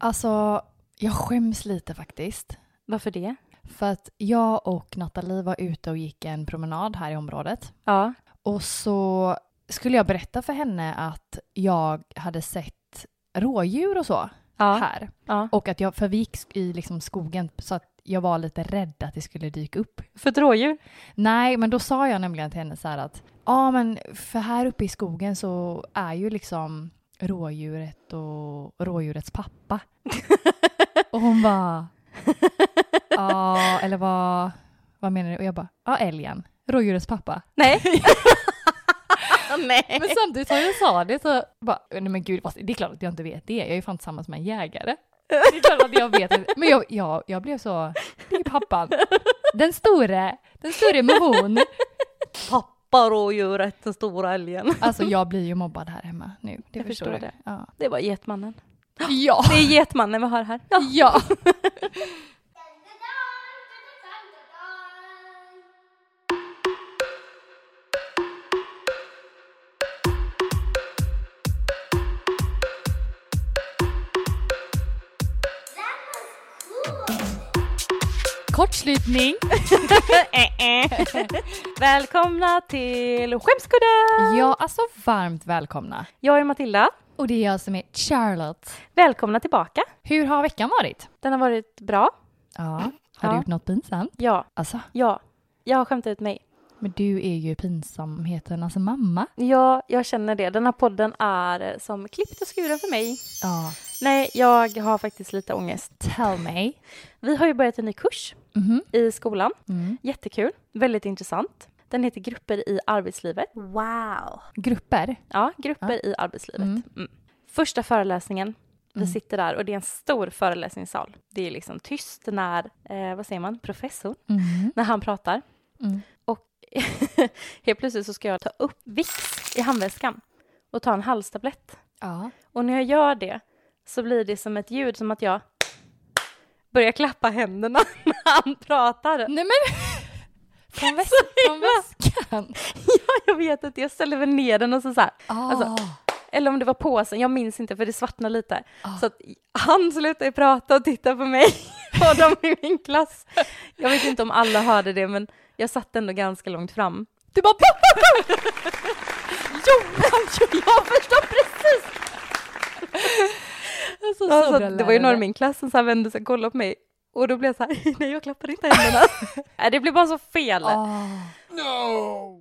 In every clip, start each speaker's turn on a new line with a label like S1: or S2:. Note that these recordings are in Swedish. S1: Alltså, jag skäms lite faktiskt.
S2: Varför det?
S1: För att jag och Nathalie var ute och gick en promenad här i området.
S2: Ja.
S1: Och så skulle jag berätta för henne att jag hade sett rådjur och så
S2: Ja.
S1: här.
S2: ja.
S1: Och att jag, för vi gick sk- i liksom skogen så att jag var lite rädd att det skulle dyka upp.
S2: För ett rådjur?
S1: Nej, men då sa jag nämligen till henne så här att ja, men för här uppe i skogen så är ju liksom rådjuret och rådjurets pappa. och hon bara ja, eller vad, vad menar du? Och jag bara ja, älgen, rådjurets pappa.
S2: Nej. Nej.
S1: Men samtidigt som jag sa det så bara, nej men gud, fast det är klart att jag inte vet det. Jag är ju fan tillsammans med en jägare. Det är klart att jag vet det. Men jag, jag, jag blev så, det är pappan. Den store, den store med hon.
S2: Pappa rådjuret, den stora älgen.
S1: Alltså jag blir ju mobbad här hemma nu. Det
S2: Jag förstår det.
S1: Ja.
S2: Det var getmannen.
S1: Ja.
S2: Det är getmannen vi har här. Ja.
S1: ja. Kortslutning.
S2: Välkomna till Skämskudden!
S1: Ja, alltså varmt välkomna.
S2: Jag är Matilda.
S1: Och det är jag som är Charlotte.
S2: Välkomna tillbaka.
S1: Hur har veckan varit?
S2: Den har varit bra.
S1: Ja. Har du
S2: Ja.
S1: gjort något pinsamt?
S2: Ja,
S1: Alltså,
S2: ja. Jag har skämt ut mig.
S1: men du är ju pinsamheternas alltså mamma.
S2: Ja, jag känner det. Den här podden är eh, som klippt och skuren för mig.
S1: Ja.
S2: Nej, jag har faktiskt lite ångest.
S1: Tell me.
S2: Vi har ju börjat en ny kurs
S1: Mhm.
S2: i skolan.
S1: Mm.
S2: Jättekul, väldigt intressant. Den heter Grupper i arbetslivet.
S1: Grupper.
S2: Ja, Grupper i arbetslivet.
S1: Mm.
S2: Mm. Första föreläsningen, vi
S1: Mm.
S2: sitter där och det är en stor föreläsningssal. Det är liksom tyst när, eh, vad säger man, professor,
S1: Mm.
S2: när han pratar.
S1: Mm.
S2: Och helt plötsligt så ska jag ta upp Vicks i handväskan och ta en halstablett.
S1: Ja.
S2: Och när jag gör det så blir det som ett ljud som att jag börjar klappa händerna när han pratar.
S1: Nej men! Från, väs-
S2: Så
S1: från
S2: himla-
S1: väskan.
S2: Ja, jag vet inte, jag ställer väl ner den och så, så här. Alltså,
S1: Ah.
S2: Eller om det var påsen, jag minns inte för det svartnar lite. Så att han slutar ju prata och titta på mig och de i min klass. Jag vet inte om alla hörde det men jag satt ändå ganska långt fram.
S1: Du bara...
S2: Johan, jag förstår precis!
S1: Alltså,
S2: Alltså, det var ju någon i min klass som så här vände sig och kollade på mig och då blev jag så här, nej jag klappar inte händerna. Nej, det blev bara så fel.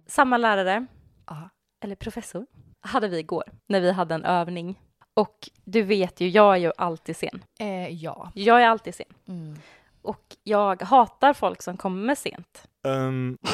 S2: Samma lärare,
S1: Ah. Ja.
S2: eller professor, hade vi igår när vi hade en övning. Och du vet ju, jag är ju alltid sen.
S1: Eh, ja.
S2: Jag är alltid sen.
S1: Mm.
S2: Och jag hatar folk som kommer sent.
S3: Ehm,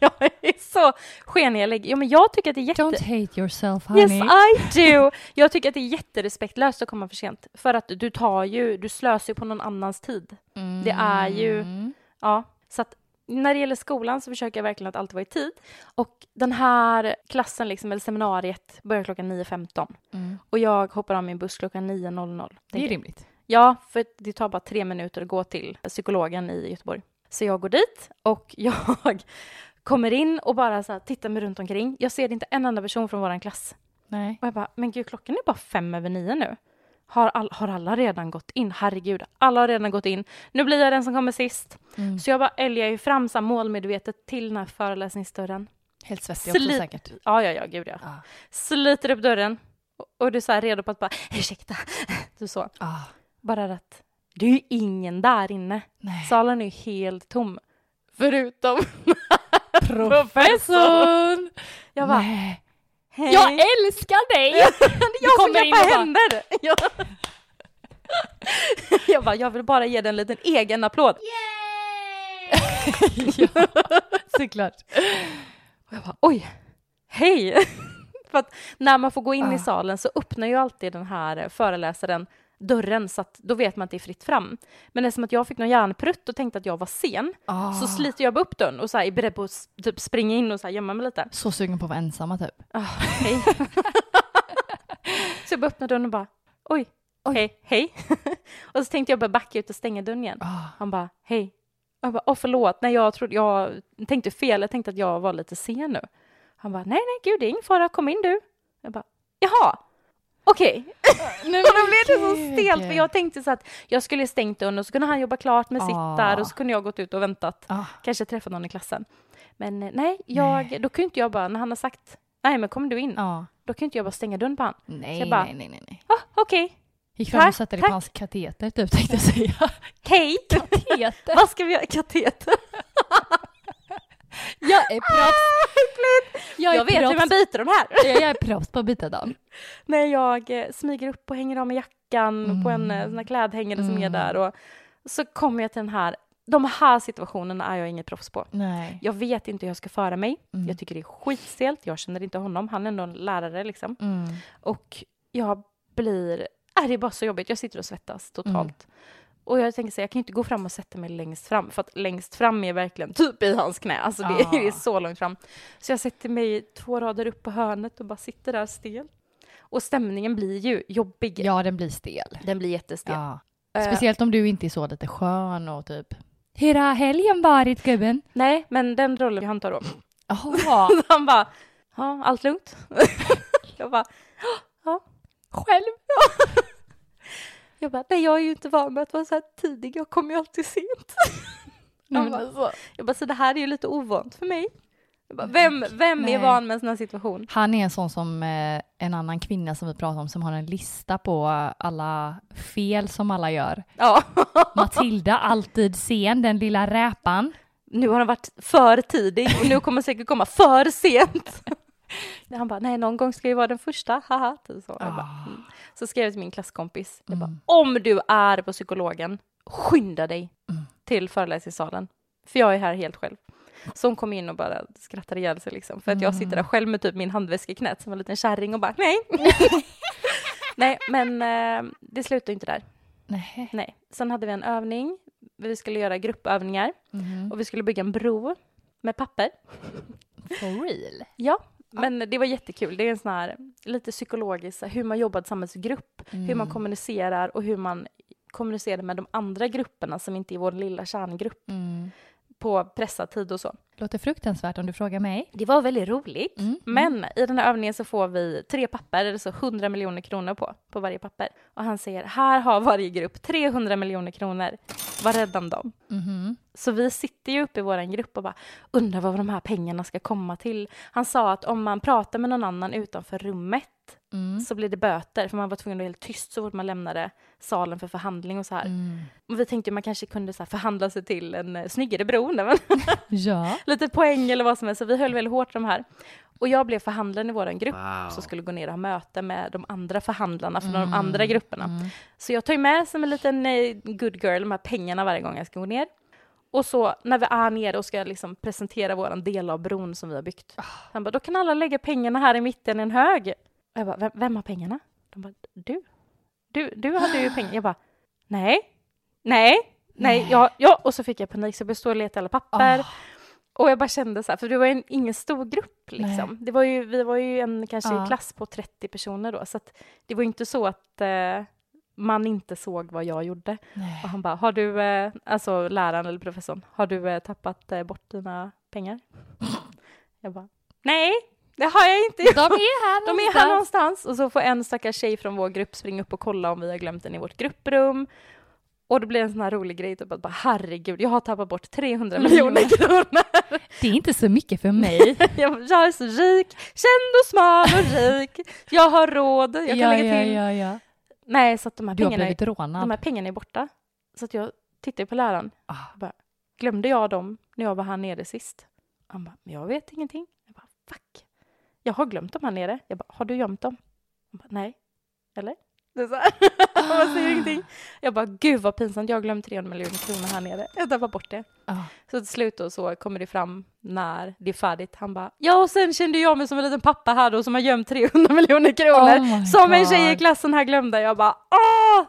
S2: Jag är så skenhelig. Jo, men jag tycker att det är jätte...
S1: Don't hate yourself
S2: Yes, ah.
S1: honey.
S2: I do! Jag tycker att det är jätterespektlöst att komma för sent. För att du tar ju, du slösar ju på någon annans tid. Det är ju...
S1: Mm.
S2: Ja, så att när det gäller skolan så försöker jag verkligen att alltid vara i tid. Och den här klassen, liksom, eller seminariet, börjar klockan 9.15.
S1: Mm.
S2: Och jag hoppar av min buss klockan 9.00.
S1: Det är
S2: tänker jag.
S1: rimligt.
S2: Ja, för det tar bara tre minuter att gå till psykologen i Göteborg. Så jag går dit och jag kommer in och bara så här, tittar mig runt omkring. Jag ser inte en enda person från vår klass.
S1: Nej.
S2: Och jag bara, men gud, klockan är bara fem över nio nu. Har, all, har alla redan gått in? Herregud, alla har redan gått in. Nu blir jag den som kommer sist.
S1: Mm.
S2: Så jag bara älgar ju fram så här målmedvetet till den här föreläsningsdörren.
S1: Helt svettig också
S2: Sli-
S1: säkert.
S2: Ja, ja, ja, gud ja.
S1: Ja.
S2: Sliter upp dörren och- och du är så här redo på att bara, ursäkta, du så.
S1: Ah.
S2: Bara att det är ju ingen där inne.
S1: Nej.
S2: Salen är ju helt tom. Förutom
S1: Professorn!
S2: Jag bara,
S1: Nej.
S2: hej.
S1: Jag älskar dig!
S2: Det är jag som
S1: kommer in och bara-
S2: klappar händer! Ja. Jag bara, jag vill bara ge den en liten egen applåd.
S1: ja, såklart.
S2: Och jag bara, oj, hej! För att när man får gå in
S1: Ja.
S2: i salen så öppnar ju alltid den här föreläsaren dörren så att då vet man att det är fritt fram. Men eftersom att jag fick någon hjärnprutt och tänkte att jag var sen
S1: Ah.
S2: så sliter jag bara upp dörren och så här är beredd på att s- typ springa in och så här gömma mig lite.
S1: Så sugen på att vara ensamma typ.
S2: Ah, hej. så jag bara öppnar dörren och bara oj,
S1: Oj.
S2: hej, hej. och så tänkte jag bara backa ut och stänga dörren igen.
S1: Ah.
S2: Han bara hej. Jag bara åh förlåt, nej jag trodde, jag tänkte fel, jag tänkte att jag var lite sen nu. Han bara nej nej gud det är ingen fara, kom in du. Jag bara jaha. Okej,
S1: Nej,
S2: och då blev det så
S1: gud.
S2: stelt för jag tänkte så att jag skulle stängt dörren och så kunde han jobba klart med sitt
S1: Ah.
S2: där och så kunde jag gått ut och väntat.
S1: Ah,
S2: Kanske träffat någon i klassen. Men eh, nej, jag, då kunde inte jag bara, när han har sagt nej men kom du in,
S1: ja.
S2: då kunde inte jag bara stänga dörren på han. Så
S1: Nej,
S2: jag bara-
S1: nej, nej, nej, nej.
S2: Ah, Okej,
S1: Gick fram och
S2: Tack,
S1: satte dig
S2: tack.
S1: på hans kateter typ tänkte jag säga.
S2: hej!
S1: Kateter?
S2: Vad ska vi göra? Kateter?
S1: Jag är proffs! Ah! Jag,
S2: Jag,
S1: är
S2: vet
S1: proffs.
S2: hur man byter de här.
S1: Jag är proffs på att byta dem.
S2: när jag eh, smyger upp och hänger av mig jackan på en eh, sån här klädhängare som är
S1: Mm.
S2: där och så kommer jag till den här, de här situationerna är jag inget proffs på.
S1: Nej.
S2: Jag vet inte hur jag ska föra mig.
S1: Mm.
S2: Jag tycker det är skitstelt. Jag känner inte honom. Han är ändå en lärare liksom.
S1: Mm.
S2: Och jag blir... Äh, det är bara så jobbigt. Jag sitter och svettas totalt. Och jag tänker så här, jag kan ju inte gå fram och sätta mig längst fram. För att längst fram är verkligen typ i hans knä. Alltså det,
S1: Ah.
S2: det är så långt fram. Så jag sätter mig två rader upp på hörnet och bara sitter där stel. Och stämningen blir ju jobbig.
S1: Ja, den blir stel.
S2: Den blir jättestel.
S1: Ja.
S2: Eh,
S1: Speciellt om du inte är så lite skön och typ Hur har helgen varit gubben?
S2: nej, men den rollen han tar då.
S1: Jaha,
S2: Så han bara, ja, allt lugnt? jag bara,
S1: själv?
S2: Jag bara, nej jag är ju inte van med att vara så här tidig, jag kommer ju alltid sent.
S1: Nej,
S2: Han
S1: men
S2: bara-
S1: alltså.
S2: Jag bara, så det här är ju lite ovant för mig. Jag bara, vem vem
S1: Nej.
S2: är van med en sån här situation?
S1: Han är en sån som eh, en annan kvinna som vi pratade om som har en lista på alla fel som alla gör.
S2: Ja,
S1: Matilda, alltid sen, den lilla räpan.
S2: nu har han varit för tidig och nu kommer han säkert komma för sent. Han bara, nej någon gång ska jag ju vara den första, haha. typ Så, jag bara, mm. så skrev jag till min klasskompis, jag bara,
S1: Ah. Mm.
S2: om du är på psykologen, skynda dig
S1: Mm.
S2: till föreläsningssalen. För jag är här helt själv. Så hon kom in och bara skrattade ihjäl sig liksom. För att jag
S1: Mm.
S2: sitter där själv med typ min handväska i knät som en liten kärring och bara nej. nej, men eh, det slutar ju inte där.
S1: Nej.
S2: Nej. Sen hade vi en övning. Vi skulle göra gruppövningar
S1: Mhm.
S2: och vi skulle bygga en bro med papper.
S1: For real?
S2: Ja, men det var jättekul. Det är en sån här lite psykologisk, så här, hur man jobbar tillsammans i grupp,
S1: Mm,
S2: hur man kommunicerar och hur man kommunicerar med de andra grupperna som inte är vår lilla kärngrupp
S1: Mm.
S2: på pressad tid och så.
S1: Låter fruktansvärt om du frågar mig.
S2: Det var väldigt roligt.
S1: Mm.
S2: Men i den här övningen så får vi tre papper, eller så 100 miljoner kronor på, på varje papper. Och han säger, här har varje grupp 300 miljoner kronor, var rädd om dem.
S1: Mhm.
S2: Så vi sitter ju uppe i vår grupp och bara undrar vad de här pengarna ska komma till. Han sa att om man pratar med någon annan utanför rummet
S1: Mm.
S2: så blir det böter, för man var tvungen att vara helt tyst så fort man lämnade salen för förhandling och så här.
S1: Mm.
S2: Och vi tänkte att man kanske kunde så här förhandla sig till en eh, snyggare bro, nej, men
S1: Ja.
S2: lite poäng eller vad som helst. Så vi höll väldigt hårt i de här. Och jag blev förhandlaren i vår grupp som skulle gå ner och ha möte med de andra förhandlarna från
S1: Mm.
S2: de andra grupperna. Så jag tar ju med som en liten eh, good girl de här pengarna varje gång jag ska gå ner. Och så när vi är nere och ska liksom presentera våran del av bron som vi har byggt. Han bara, då kan alla lägga pengarna här i mitten i en hög. Och jag bara, vem, vem har pengarna? De bara, du. Du, du hade ju pengar. Jag bara, nej, nej, nej, ja, ja. Och så fick jag panik så jag började stå och leta i alla papper.
S1: Ah.
S2: Och jag bara kände så här, för det var ju en, ingen stor grupp liksom. Det var ju, vi var ju en kanske
S1: Ja.
S2: i klass på 30 personer då, så att det var ju inte så att eh, man inte såg vad jag gjorde.
S1: Nej.
S2: Och han bara, har du, eh, alltså läraren eller professorn, har du eh, tappat eh, bort dina pengar? jag bara, nej, det har jag inte gjort.
S1: De är här
S2: De är här någonstans. Och så får en stackars tjej från vår grupp springa upp och kolla om vi har glömt den i vårt grupprum. Och det blir en sån här rolig grej, typ att bara herregud, jag har tappat bort 300 miljoner kronor.
S1: Det är inte så mycket för mig.
S2: Jag, jag är så rik, känd och smal och rik. Jag har råd, jag kan
S1: ja,
S2: lägga
S1: ja,
S2: till.
S1: ja, ja.
S2: Nej, så att de här,
S1: Du har
S2: pengarna,
S1: blivit rånad.
S2: de här pengarna är borta. Så att jag tittar på läraren.
S1: Ah.
S2: Jag Bara, Glömde jag dem när jag var här nere sist? Han bara, men jag vet ingenting. Jag bara, fuck. Jag har glömt dem här nere. Jag bara, har du gömt dem? Han bara, nej. Eller? Det är så här. Man säger ingenting. Jag bara, gud vad pinsamt, jag har glömt 300 miljoner kronor här nere. Jag tappade bort det.
S1: Ah.
S2: Så till slut då så kommer det fram när det är färdigt. Han bara, ja och sen kände jag mig som en liten pappa här då som har gömt 300 miljoner kronor.
S1: Oh my
S2: som en tjej i
S1: God.
S2: klassen här glömde. Jag bara, åh!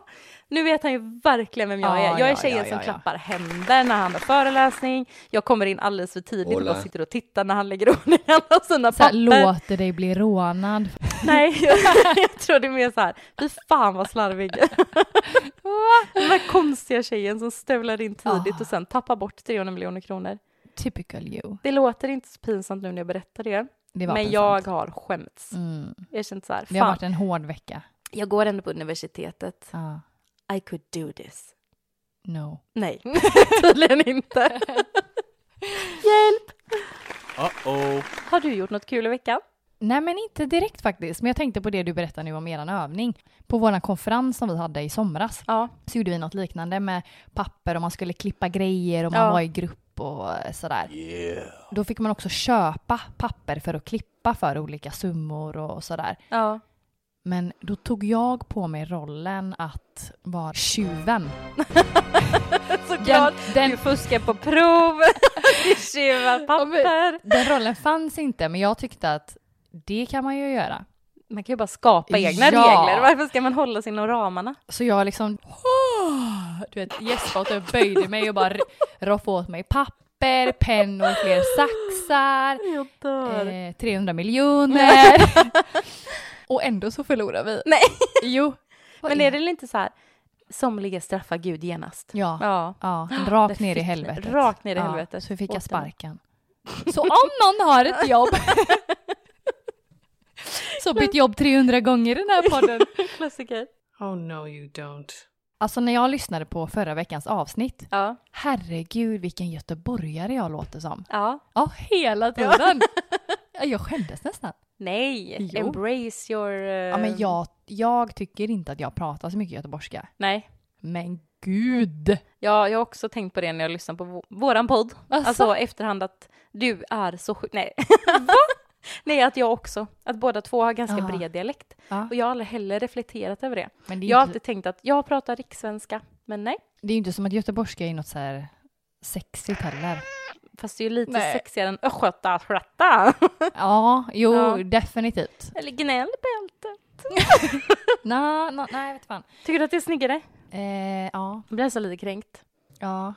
S2: Nu vet han ju verkligen vem jag
S1: Ja,
S2: är. Jag är
S1: ja,
S2: tjejen
S1: ja,
S2: som
S1: ja, ja.
S2: klappar händer när han har föreläsning. Jag kommer in alldeles för tidigt och
S3: Hola.
S2: bara sitter och tittar när han lägger ordning alla sina
S1: Så här,
S2: papper.
S1: låter dig bli rånad.
S2: Nej, jag, jag tror det är mer så här, fy fan vad slarvig. Den där konstiga tjejen som stövlar in tidigt
S1: Ah.
S2: och sen tappar bort 300 miljoner kronor.
S1: Typical you.
S2: Det låter inte så pinsamt nu när jag berättar det,
S1: Det var
S2: men
S1: pinsamt.
S2: jag har skämts.
S1: Mm.
S2: Jag har känt så här,
S1: Det har
S2: fan,
S1: varit en hård vecka.
S2: Jag går ändå på universitetet.
S1: Ja.
S2: I could do this.
S1: No.
S2: Nej, tydligen inte. Hjälp!
S3: Uh-oh.
S2: Har du gjort något kul i veckan?
S1: Nej, men inte direkt faktiskt. Men jag tänkte på det du berättade nu om eran övning. På vår konferens som vi hade i somras
S2: Ja.
S1: så gjorde vi något liknande med papper och man skulle klippa grejer och man
S2: Ja.
S1: var i grupp och eh, sådär.
S3: Yeah.
S1: Då fick man också köpa papper för att klippa för olika summor och sådär.
S2: Ja.
S1: Men då tog jag på mig rollen att vara tjuven.
S2: Såklart.
S1: den,
S2: Du fuskar på prov, du tjuvar papper.
S1: den rollen fanns inte, men jag tyckte att det kan man ju göra.
S2: Man kan ju bara skapa egna
S1: Ja.
S2: regler. Varför ska man hålla sig inom ramarna?
S1: Så jag liksom du vet, gäspade och jag böjde mig och bara roffade åt mig papper, pennor, fler saxar,
S2: Jag dör.
S1: eh, 300 miljoner. och ändå så förlorar vi.
S2: Nej.
S1: Jo.
S2: Men är det inte så här, somliga straffar Gud genast?
S1: Ja.
S2: Ja.
S1: Ja, rakt
S2: Där
S1: ner i
S2: fick-
S1: helvetet.
S2: rakt ner i
S1: Ja,
S2: helvetet.
S1: Så fick jag
S2: Åt den.
S1: sparken. Så om någon har ett jobb så bytt jobb 300 gånger i den här podden.
S2: Klassiker.
S4: Oh, no, you don't.
S1: Alltså när jag lyssnade på förra veckans avsnitt,
S2: Ja.
S1: herregud vilken göteborgare jag låter som.
S2: Ja.
S1: Ja, hela tiden. Ja. Jag skämdes nästan.
S2: Nej.
S1: Jo.
S2: Embrace your... eh,
S1: Ja,
S2: Ehm.
S1: men jag, jag tycker inte att jag pratar så mycket göteborgska.
S2: Nej.
S1: Men gud!
S2: Ja, jag har också tänkt på det när jag lyssnar på vå- våran podd.
S1: Asså?
S2: Alltså efterhand att du är så sjuk. Nej. Nej, att jag också. Att båda två har ganska
S1: Ja.
S2: bred dialekt.
S1: Ja.
S2: Och jag har aldrig heller reflekterat över Ah. det.
S1: Men det är,
S2: Jag har
S1: ju inte,
S2: alltid tänkt att jag pratar rikssvenska, men nej.
S1: det är ju inte som att göteborgska är något så här sexigt heller.
S2: Fast det är ju lite
S1: Nej.
S2: sexigare än östgötasköta.
S1: Ja, jo,
S2: Ja.
S1: definitivt.
S2: Eller gnällbälte.
S1: Nå, nå, nej, vet fan.
S2: Tycker du att det är snyggare?
S1: Eh, ja,
S2: Jag blir så lite kränkt.
S1: ja.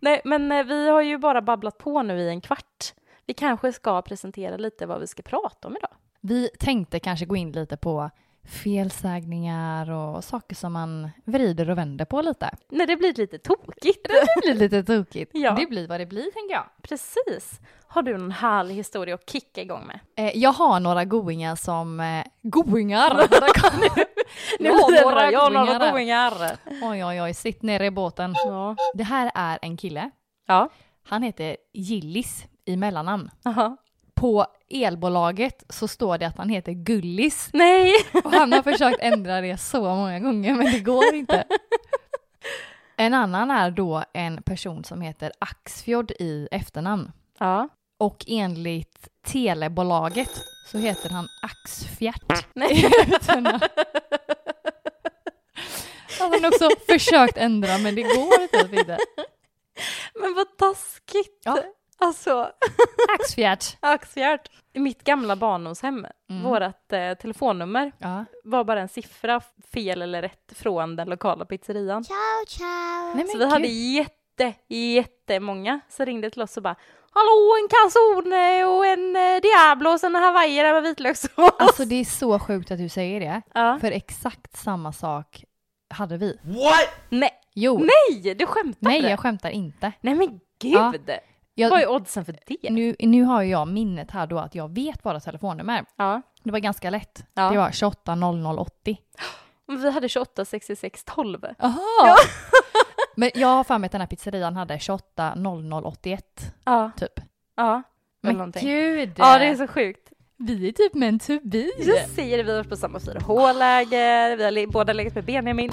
S2: Nej, men eh, vi har ju bara babblat på nu i en kvart. Vi kanske ska presentera lite vad vi ska prata om idag.
S1: Vi tänkte kanske gå in lite på felsägningar och saker som man vrider och vänder på lite.
S2: Nej, det blir lite tokigt.
S1: Det blir lite tokigt.
S2: Ja.
S1: Det blir vad det blir, tänker jag.
S2: Precis. Har du någon härlig historia att kicka igång med?
S1: Eh, jag har några goingar som... Eh, goingar! jag har
S2: lirar
S1: några
S2: jag har
S1: goingar.
S2: några
S1: här.
S2: goingar.
S1: Oj, oj, oj, sitt ner i båten.
S2: Ja.
S1: Det här är en kille.
S2: Ja.
S1: Han heter Gillis i mellannamn.
S2: Aha.
S1: På elbolaget så står det att han heter Gullis.
S2: Nej!
S1: Och han har försökt ändra det så många gånger men det går inte. En annan är då en person som heter Axfjord i efternamn.
S2: Ja.
S1: Och enligt telebolaget så heter han Axfjärt.
S2: Nej.
S1: efternamn. Han har också försökt ändra men det går typ inte.
S2: Men vad taskigt!
S1: Ja.
S2: Alltså,
S1: Axfjärt.
S2: Axfjärd. I mitt gamla barndomshem,
S1: Mm.
S2: vårat eh, telefonnummer
S1: Ja.
S2: var bara en siffra f- fel eller rätt från den lokala pizzerian.
S1: Nej,
S2: så
S1: men
S2: vi hade
S1: gud.
S2: jätte, jättemånga som ringde till oss och bara Hallå, en calzone och en eh, Diablo och sen en hawaiiare med vitlökssås.
S1: Alltså det är så sjukt att du säger det.
S2: ja.
S1: För exakt samma sak hade vi.
S3: What?
S2: Nej,
S1: Jo, nej,
S2: nej, du skämtade?
S1: jag skämtar inte.
S2: nej men
S1: Ja.
S2: gud!
S1: Jag, Mm,
S2: Vad är oddsen för det?
S1: Nu, nu har ju jag minnet här då att jag vet våra telefonnummer.
S2: Ja.
S1: Det var ganska lätt.
S2: Ja.
S1: Det var 28 0080.
S2: Men Vi hade 28, 66, 12.
S1: Aha. Men jag har för mig att den här pizzerian hade 28 0081
S2: Ja,
S1: typ.
S2: ja.
S1: Men
S2: någonting.
S1: gud! eh,
S2: Ja, det är så sjukt.
S1: Vi är typ med en tubi.
S2: Jag säger det, vi har varit på samma 4H-läger, vi har le- båda legat med Benjamin.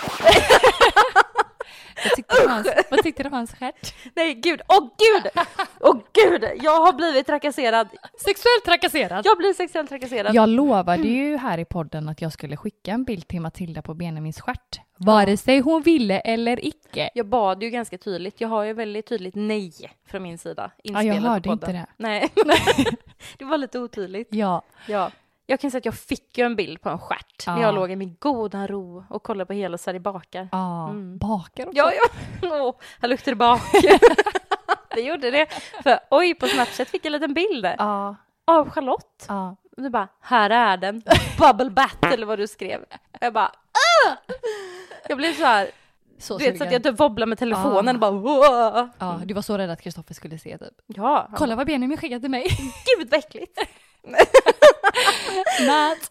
S1: Vad tyckte du om hans, vad tyckte du om hans stjärt?
S2: Nej gud, åh gud! Åh gud! Jag har blivit trakasserad.
S1: Sexuellt trakasserad.
S2: Jag blir sexuellt trakasserad.
S1: Jag lovade ju här i podden att jag skulle skicka en bild till Matilda på Benjamins stjärt. Vare sig hon ville eller icke.
S2: Jag bad ju ganska tydligt, jag har ju väldigt tydligt nej från min sida.
S1: jag
S2: inspelat på
S1: hörde inte
S2: podden.
S1: det.
S2: Nej, det var lite otydligt.
S1: Ja.
S2: Ja. Jag kan säga att jag fick ju en bild på en stjärt när
S1: Ja.
S2: jag låg i min goda ro och kollade på Hela Sverige bakar.
S1: Ah,
S2: Mm.
S1: Bakar också.
S2: Ja, ja. Åh, här luktar det bak. det gjorde det. För oj, på Snapchat fick jag en liten bild
S1: Ja.
S2: av Charlotte.
S1: Ja.
S2: Och du bara, här är den. Bubble battle eller vad du skrev. Och Jag bara, ah! Jag blev så här,
S1: Så
S2: du vet så att
S1: sugen.
S2: jag typ wobblar med telefonen
S1: Ah.
S2: och bara, wow.
S1: Ja, du var så rädd att Kristoffer skulle se typ.
S2: Ja,
S1: Kolla vad Benjamin skickade till mig.
S2: gud vad äckligt.
S1: Nät.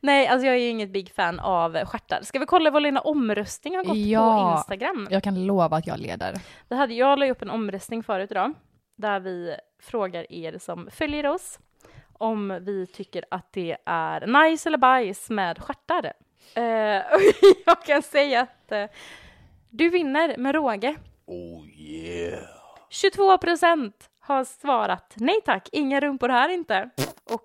S2: Nej, alltså jag är ju inget big fan av stjärtar. Ska vi kolla vad Lena omröstning har gått
S1: Ja.
S2: på Instagram?
S1: Jag kan lova att jag leder.
S2: Det hade, jag la ju upp en omröstning förut idag, där vi frågar er som följer oss om vi tycker att det är nice eller bajs med stjärtar. Eh, och jag kan säga att eh, du vinner med råge.
S3: Oh yeah.
S2: 22 procent har svarat nej tack, inga rumpor här inte. Och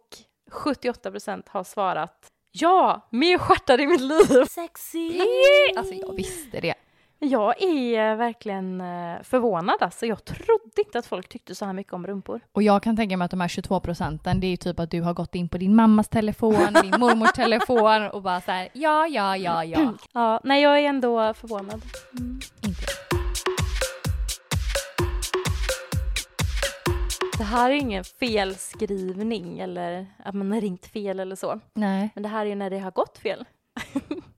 S2: 78 procent har svarat ja, mer stjärtar i mitt liv.
S5: Sexy.
S1: Alltså jag visste det.
S2: Jag är verkligen eh, förvånad alltså. Jag trodde inte att folk tyckte så här mycket om rumpor.
S1: Och jag kan tänka mig att de här 22 procenten, det är ju typ att du har gått in på din mammas telefon, din mormors telefon och bara så här, ja, ja, ja, ja.
S2: Ja, nej jag är ändå förvånad. Mm. Det här är ju ingen felskrivning eller att man har ringt fel eller så.
S1: Nej,
S2: Men det här är ju när det har gått fel.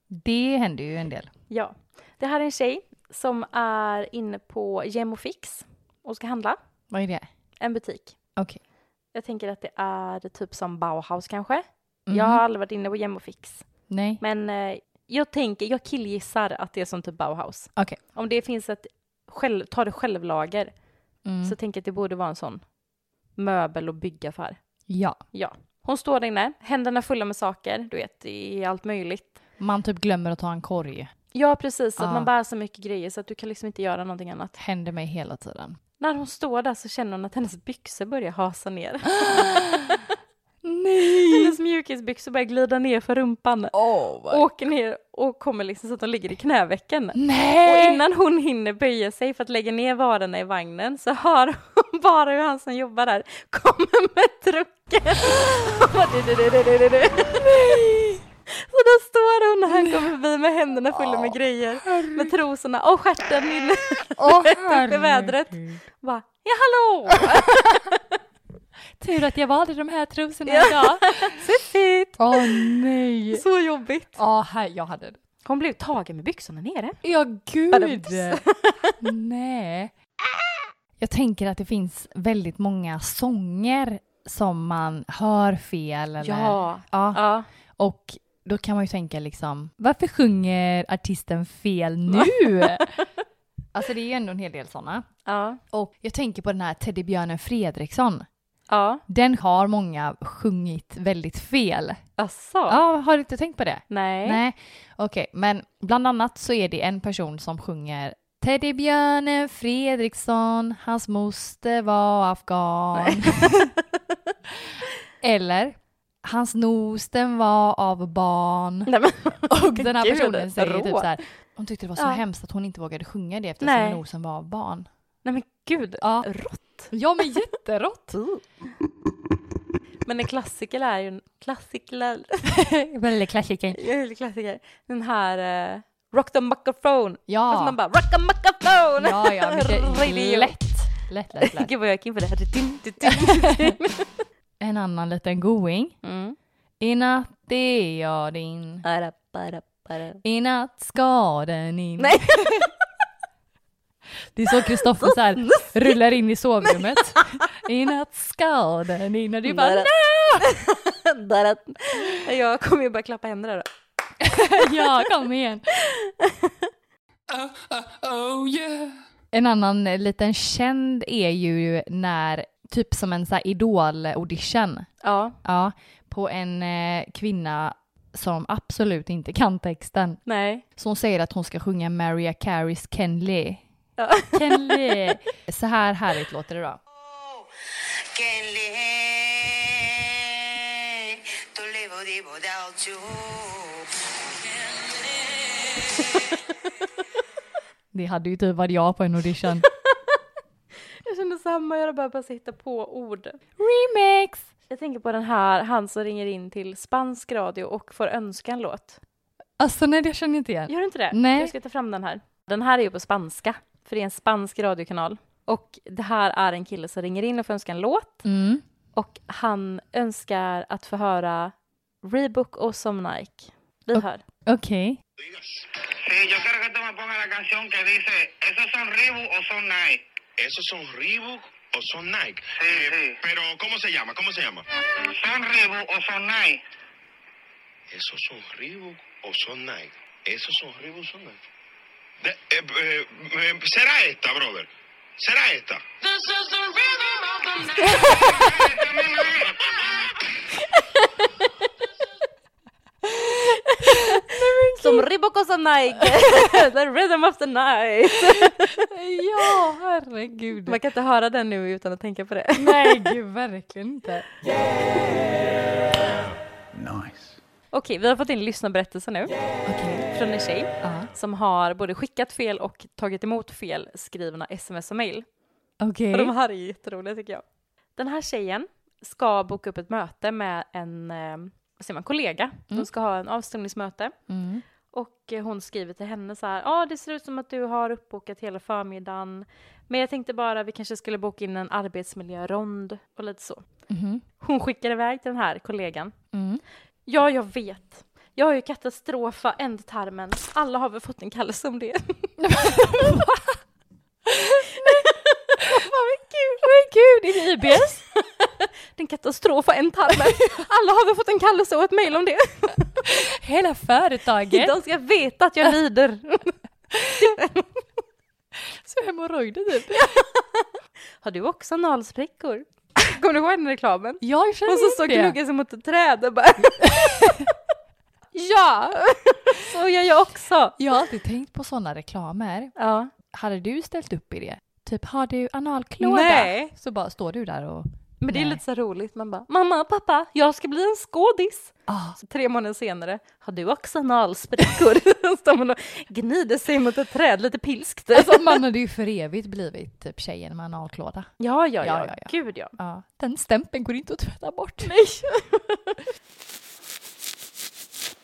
S1: det händer ju en del.
S2: Ja. Det här är en tjej som är inne på Gemofix och ska handla
S1: Vad är det?
S2: en butik.
S1: Okej.
S2: Jag tänker att det är typ som Bauhaus kanske.
S1: Mhm.
S2: Jag har aldrig varit inne på Gemofix.
S1: Nej.
S2: Men eh, jag tänker, jag killgissar att det är som typ Bauhaus.
S1: Okej.
S2: Om det finns ett själv, ta det självlager
S1: Mm.
S2: så tänker jag att det borde vara en sån möbel och byggaffär.
S1: Ja,
S2: Ja. Hon står där inne, händerna fulla med saker, du vet, i allt möjligt.
S1: man typ glömmer att ta en korg.
S2: Ja, precis, så att
S1: Ja.
S2: man bär så mycket grejer så att du kan liksom inte göra någonting annat.
S1: Händer mig hela tiden.
S2: När hon står där så känner hon att hennes byxor börjar hasa ner.
S1: Nej!
S2: hennes mjukisbyxor börjar glida ner för rumpan.
S1: Oh,
S2: Åker ner och kommer liksom så att de ligger i knävecken. Och
S1: Nej!
S2: innan hon hinner böja sig för att lägga ner varorna i vagnen så hör hon bara hur han som jobbar där kommer med trucken. Och bara, du, du, du, du, du, du, du. Så där står hon när han kommer förbi med händerna fulla med grejer, med trosorna och stjärten inne
S1: Åh,
S2: i vädret. Bara, ja hallå!
S1: Tur att jag valde de här trosorna
S2: Ja.
S1: idag.
S2: Fiffigt!
S1: Åh nej!
S2: Så jobbigt.
S1: Ja, här, jag hade det.
S2: Hon blev tagen med byxorna nere.
S1: Ja, gud!
S2: Badums.
S1: Nej. Jag tänker att det finns väldigt många sånger som man hör fel. Eller,
S2: Ja.
S1: ja.
S2: Ja.
S1: Och då kan man ju tänka liksom, varför sjunger artisten fel nu? alltså det är ju ändå en hel del sådana.
S2: Ja.
S1: Och jag tänker på den här Teddybjörnen Fredriksson.
S2: Ja.
S1: Den har många sjungit väldigt fel.
S2: Asså?
S1: Ja, har du inte tänkt på det?
S2: Nej.
S1: Nej, okej. Men bland annat så är det en person som sjunger Teddybjörnen Fredriksson, hans moster var afghan. Eller, hans nos den var av barn.
S2: Nej, men,
S1: Och den här
S2: Gud,
S1: personen säger
S2: rå.
S1: typ så här, hon tyckte det var så
S2: Ja.
S1: hemskt att hon inte vågade sjunga det eftersom
S2: Nej.
S1: nosen var av barn.
S2: Nej men gud.
S1: Ja,
S2: Rått.
S1: ja men jätterått.
S2: Mm. Men en klassiker är ju en klassiker.
S1: Väldigt klassiker.
S2: Jag gillar klassiker. Den här eh, Rock the microphone. Fast Alltså, man
S1: Ja,
S2: bara Rock the microphone!
S1: ja, ja, men det
S2: Radio.
S1: är lätt. Lätt, lätt, lätt.
S2: Gud vad jag gick in för det här. Din, din, din, din.
S1: En annan liten going.
S2: Mm.
S1: I natt är jag din,
S2: Bara, bara, bara.
S1: i natt ska den in.
S2: Nej.
S1: Det är så Kristoffer så här rullar in i sovrummet. I natt ska den in och du bara nej!
S2: bara. Jag kommer ju bara klappa händerna då.
S1: Ja, kom igen. Uh, oh, En annan eh, liten känd är ju när, typ som en så här idol-audition,
S2: Ja,
S1: ja, på en eh, kvinna som absolut inte kan texten.
S2: nej.
S1: Så hon säger att hon ska sjunga Mariah Careys Kenley.
S2: Ja.
S1: Kenley. Så här härligt låter det då.
S6: Kenle, to levo di bodao chu.
S1: Det hade ju typ varit jag på en audition.
S2: Jag känner samma, jag bara bara hitta på ord.
S1: Remix!
S2: Jag tänker på den här, han som ringer in till spansk radio och får önska en låt.
S1: Alltså nej, det känner jag inte igen.
S2: Gör du inte det?
S1: Nej.
S2: Jag ska ta fram den här. Den här är ju på spanska, för det är en spansk radiokanal. Och det här är en kille som ringer in och får önska en låt.
S1: Mm.
S2: Och han önskar att få höra Reebok och som Nike. Vi hör.
S1: Okej.
S6: Sí, yo quiero que tú me pongas la canción que dice, ¿esos son Reebok o son Nike?
S7: ¿Esos son Reebok
S3: o son Nike. Eh,
S6: Sí, sí.
S3: Pero, ¿cómo se llama? ¿Cómo se llama?
S6: ¿Son Reebok o son Nike?
S3: ¿Esos son Reebok o son Nike? ¿Esos son Reebok o son Nike? De- eh, eh, eh, ¿Será esta, brother? ¿Será esta?
S2: Som Reebok och som Nike. the rhythm of the night.
S1: Ja, herregud.
S2: Man kan inte höra den nu utan att tänka på det.
S1: Nej, gud, verkligen inte.
S2: Okej, vi har fått in lyssnarberättelser nu
S1: Okej.
S2: från en tjej
S1: Ja.
S2: som har både skickat fel och tagit emot fel skrivna sms och mail.
S1: Okej.
S2: Och de här är jätteroliga tycker jag. Den här tjejen ska boka upp ett möte med en eh, vad säger man, kollega. De ska ha en avstämningsmöte.
S1: Mm.
S2: Och eh, hon skriver till henne så här, ja det ser ut som att du har uppbokat hela förmiddagen. Men jag tänkte bara vi kanske skulle boka in en arbetsmiljörond och lite så.
S1: Mhm.
S2: Hon skickar iväg den här kollegan.
S1: Mm.
S2: Ja, jag vet. Jag har ju katastrofa ändtarmen. Alla har väl fått en kallelse om det.
S1: Vad kul, vad kul! Det är IBS.
S2: Den katastrofa ändtarmen. Alla har väl fått en kallelse och ett mejl om det.
S1: Hela företaget.
S2: De ska veta att jag lider.
S1: Så hemorrojder typ.
S2: Har du också analsprickor? Kommer du ihåg den reklamen?
S1: Jag känner
S2: Hon som står och
S1: igen det.
S2: gnuggar sig mot ett träd och bara... ja! Så gör jag också.
S1: Jag har alltid tänkt på sådana reklamer.
S2: Ja.
S1: Hade du ställt upp i det? Typ, har du analklåda?
S2: Nej.
S1: Så bara står du där och...
S2: Men det är
S1: Nej.
S2: lite så roligt. Man bara, mamma, pappa, jag ska bli en skådis.
S1: Ah,
S2: Så tre månader senare, har du också analsprickor? Står man och gnider sig mot ett träd lite pilskt. typ.
S1: Alltså man hade ju för evigt blivit typ tjejen med analklåda.
S2: ja, ja,
S1: Ja,
S2: ja,
S1: ja, ja.
S2: Gud, ja.
S1: Ja. Den stämpeln går inte att tvätta bort.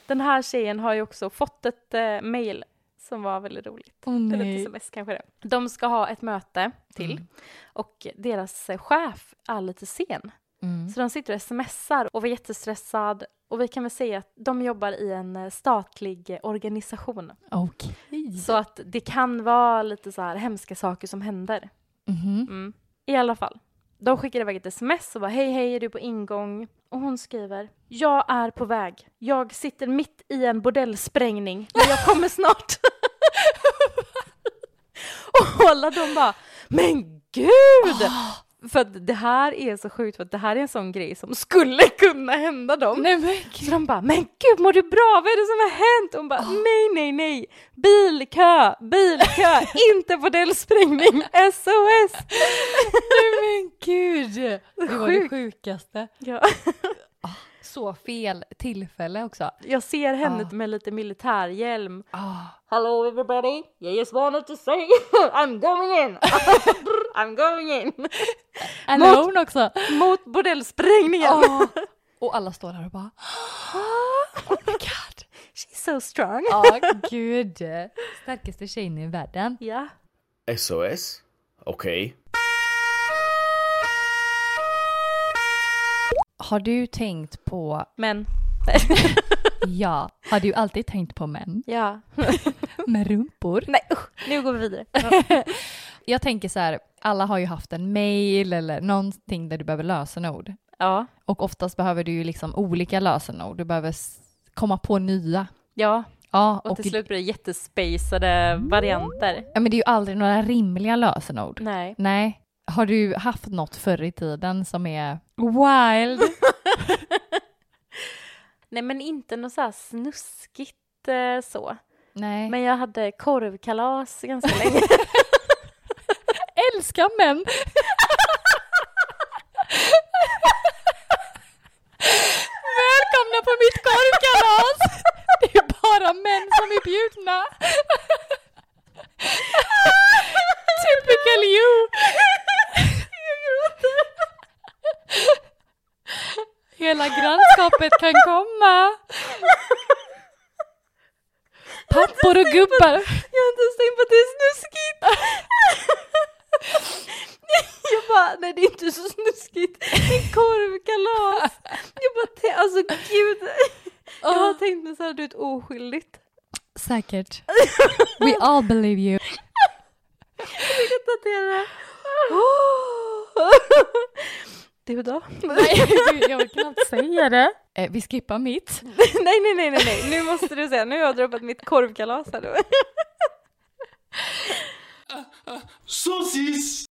S2: Den här tjejen har ju också fått ett eh, mejl som var väldigt roligt.
S1: Åh,
S2: Eller ett
S1: nej.
S2: sms kanske det. De ska ha ett möte till och deras eh, chef är lite sen.
S1: Mm.
S2: Så de sitter och smsar och var jättestressad. Och vi kan väl säga att de jobbar i en eh, statlig eh, organisation.
S1: Okej.
S2: Så att det kan vara lite så här hemska saker som händer.
S1: Mhm.
S2: Mm. I alla fall. De skickar iväg ett sms och bara hej hej är du på ingång? Och hon skriver jag är på väg. Jag sitter mitt i en bordellsprängning men jag kommer snart. och alla de bara men gud! För att det här är så sjukt för att det här är en sån grej som skulle kunna hända dem.
S1: Nej men
S2: Så de bara, men gud mår du bra? Vad är det som har hänt? Hon bara, nej, nej, nej. Bilkö, bilkö, inte bordellsprängning, SOS.
S1: Men gud! Det var det
S2: Sjukt.
S1: sjukaste.
S2: Ja.
S1: Så fel tillfälle också.
S2: Jag ser henne
S1: Ah.
S2: med lite militärhjälm.
S1: Ah.
S2: Hello everybody, I just wanted to say I'm going in. I'm going in.
S1: Alone också.
S2: Mot bordellsprängningen.
S1: Ah. Och alla står där och bara
S2: Oh my god, she's so strong.
S1: ja gud. Starkaste tjejen i världen.
S2: Ja.
S5: Eso es. Okay.
S1: Har du tänkt på,
S2: Men,
S1: ja, har du alltid tänkt på män
S2: ja.
S1: med rumpor?
S2: Nej usch, nu går vi vidare.
S1: Jag tänker så här, alla har ju haft en mail eller någonting där du behöver lösenord.
S2: Ja,
S1: Och oftast behöver du ju liksom olika lösenord, du behöver s- komma på nya.
S2: ja.
S1: Ja,
S2: Och, till slut blir det jättespacade varianter.
S1: Ja, men det är ju aldrig några rimliga lösenord.
S2: Nej.
S1: Nej. Har du haft något förr i tiden som är wild?
S2: Nej men inte något så här snuskigt eh, så.
S1: Nej.
S2: Men jag hade korvkalas ganska länge.
S1: älskar män. Välkomna på mitt korvkalas! Det är bara män som är bjudna. Typical you! Hela grannskapet kan komma. Pappor och gubbar.
S2: jag har inte ens tänkt på att det är snuskigt. jag bara, nej det är inte så snuskigt. Det är korvkalas. Jag bara, te- alltså gud. Jag har tänkt mig så här, du vet oskyldigt.
S1: Säkert. We all believe you.
S2: Jag kan inte hantera det här. Åh. Du då?
S1: jag vill knappt säga det. Eh, vi skippar mitt.
S2: nej, nej, nej, nej, nej, nu måste du säga, nu har jag droppat mitt korvkalas här.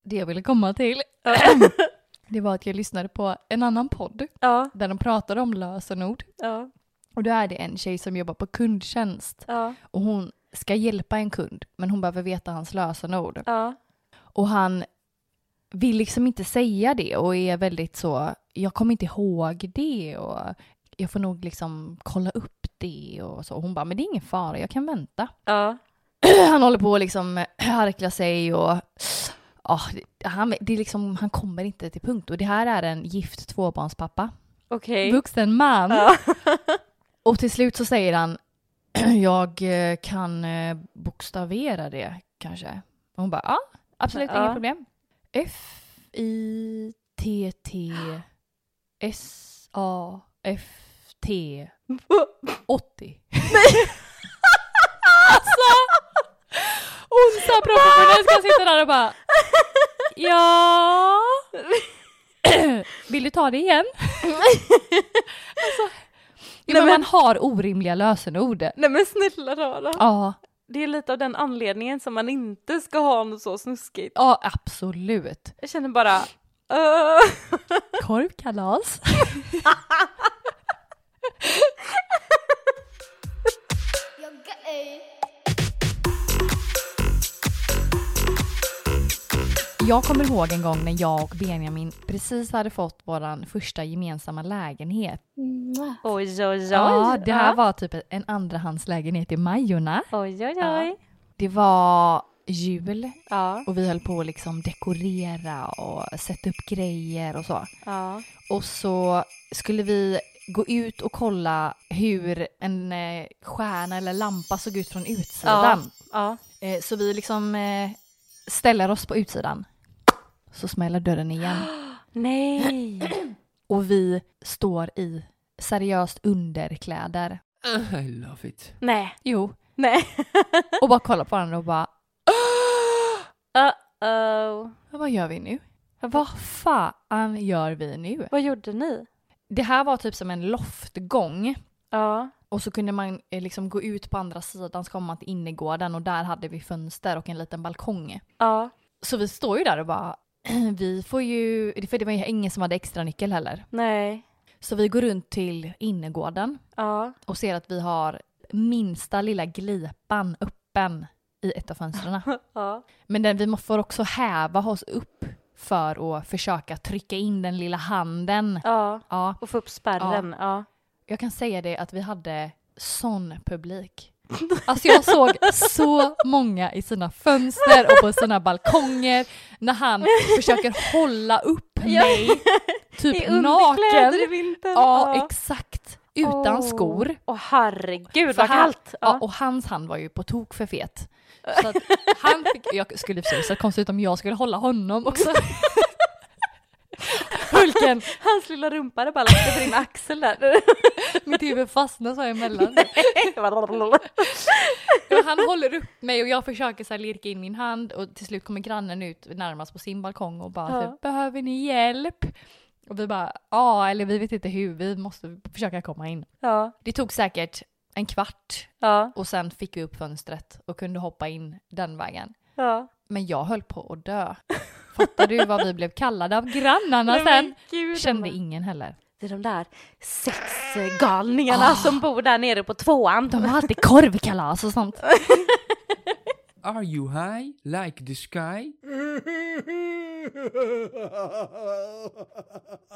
S1: Det jag ville komma till, det var att jag lyssnade på en annan podd
S2: ja,
S1: där de pratade om lösenord.
S2: ja,
S1: Och då är det en tjej som jobbar på kundtjänst
S2: ja,
S1: och hon ska hjälpa en kund men hon behöver veta hans lösenord.
S2: ja,
S1: Och han vill liksom inte säga det och är väldigt så, jag kommer inte ihåg det och jag får nog liksom kolla upp det och så. Och hon bara, men det är ingen fara, jag kan vänta.
S2: ja,
S1: han håller på och liksom harklar sig och ja, det- han, det är liksom, han kommer inte till punkt. Och det här är en gift tvåbarnspappa,
S2: okej.
S1: vuxen man.
S2: Ja.
S1: Och till slut så säger han, jag eh, kan eh, bokstavera det kanske. Och hon bara, ja, absolut
S2: Ja.
S1: inga problem. F, I, T, T, S, A, F, T, 80. alltså! Hon sa professionellt ska sitta där och bara Ja. Vill du ta det igen? alltså, jo,
S2: Nej,
S1: men
S2: men-
S1: man har orimliga lösenord.
S2: Nej men snälla rara.
S1: Ja,
S2: Det är lite av den anledningen som man inte ska ha något så snuskigt.
S1: ja absolut.
S2: Jag känner bara... Uh,
S1: Korvkalas. Jag kommer ihåg en gång när jag och Benjamin precis hade fått vår första gemensamma lägenhet.
S2: oj, oj, oj.
S1: Ja, det här
S2: Ja.
S1: var typ en andrahandslägenhet i Majorna.
S2: Oj, oj,
S1: Ja.
S2: oj.
S1: Det var jul
S2: Ja,
S1: och vi höll på att liksom dekorera och sätta upp grejer och så.
S2: ja,
S1: Och så skulle vi gå ut och kolla hur en eh, stjärna eller lampa såg ut från utsidan.
S2: ja.
S1: Eh, så vi liksom eh, ställer oss på utsidan. Så smäller dörren igen.
S2: Nej.
S1: Och vi står i seriöst underkläder.
S7: I love it.
S2: Nej.
S1: Jo.
S2: Nej.
S1: Och bara kollar på varandra och bara
S2: Uh-oh.
S1: vad gör vi nu? Vad fan gör vi nu?
S2: Vad gjorde ni?
S1: Det här var typ som en loftgång.
S2: Ja,
S1: Och så kunde man eh, liksom gå ut på andra sidan så kom man till innergården och där hade vi fönster och en liten balkong.
S2: ja,
S1: Så vi står ju där och bara, vi får ju, för det var ju ingen som hade extra nyckel heller.
S2: nej,
S1: Så vi går runt till innergården
S2: ja.
S1: och ser att vi har minsta lilla glipan öppen i ett av fönstren.
S2: Ja.
S1: Men den, vi må- får också häva oss upp för att försöka trycka in den lilla handen.
S2: ja.
S1: Ja,
S2: Och få upp spärren. Ja.
S1: jag kan säga det att vi hade sån publik. Alltså jag såg så många i sina fönster och på sina balkonger när han försöker hålla upp mig, typ
S2: underkläder i
S1: naken.
S2: vintern.
S1: Ja, exakt. Utan
S2: Åh.
S1: skor.
S2: Åh herregud
S1: För
S2: vad
S1: han-
S2: kallt.
S1: Ja,
S2: Ja.
S1: och hans hand var ju på tok för fet. Så att han fick, jag skulle i och för sig så konstigt om jag skulle hålla honom också. Hulken,
S2: Hans lilla rumpa hade bara lagt över din axel där.
S1: mitt huvud fastnade så här emellan. Och han håller upp mig och jag försöker så här lirka in min hand och till slut kommer grannen ut närmast på sin balkong och bara
S2: Ja.
S1: typ, behöver ni hjälp? Och vi bara ja, eller vi vet inte hur, vi måste försöka komma in.
S2: ja,
S1: Det tog säkert en kvart
S2: ja,
S1: och sen fick vi upp fönstret och kunde hoppa in den vägen.
S2: ja.
S1: Men jag höll på att dö. Fattar du vad vi blev kallade av grannarna
S2: Nej,
S1: sen?
S2: men gud,
S1: Kände
S2: Emma.
S1: ingen heller.
S2: Det är de där sexgalningarna som bor där nere på tvåan.
S1: De har alltid korvkalas och sånt.
S7: Are you high like the sky?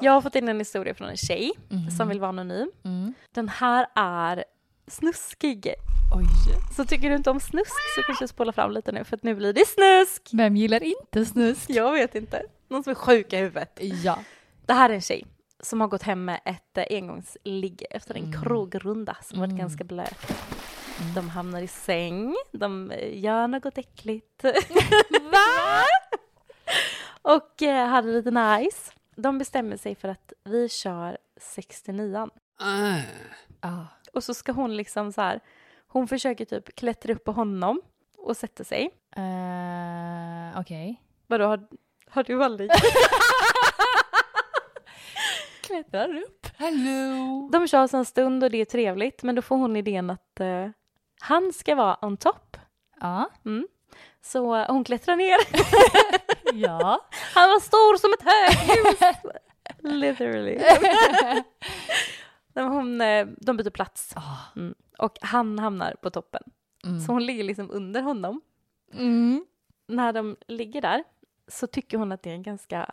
S2: Jag har fått in en historia från en tjej som vill vara anonym. Den här är snuskig.
S1: Oj.
S2: Så tycker du inte om snusk så kanske jag spolar fram lite nu för att nu blir det snusk.
S1: Vem gillar inte snusk?
S2: Jag vet inte. Någon som är sjuk i huvudet.
S1: Ja.
S2: Det här är en tjej som har gått hem med ett eh, engångsligg efter en krogrunda som varit ganska blöt. De hamnar i säng, de eh, gör något äckligt. Va? Och eh, hade lite nice. De bestämmer sig för att vi kör 69an.
S7: Ah.
S1: Ah.
S2: Och så ska hon liksom så här, hon försöker typ klättra upp på honom och sätter sig.
S1: Eh, Okej.
S2: Vadå, har, har du aldrig? klättrar upp.
S7: Hello!
S2: De tjas en stund och det är trevligt, men då får hon idén att eh, han ska vara on top.
S1: Ja.
S2: Så eh, hon klättrar ner.
S1: ja.
S2: Han var stor som ett höghus! Literally. Nej, men hon, eh, de byter plats
S1: Ah.
S2: mm. och han hamnar på toppen. Så hon ligger liksom under honom.
S1: Mm.
S2: När de ligger där så tycker hon att det är en ganska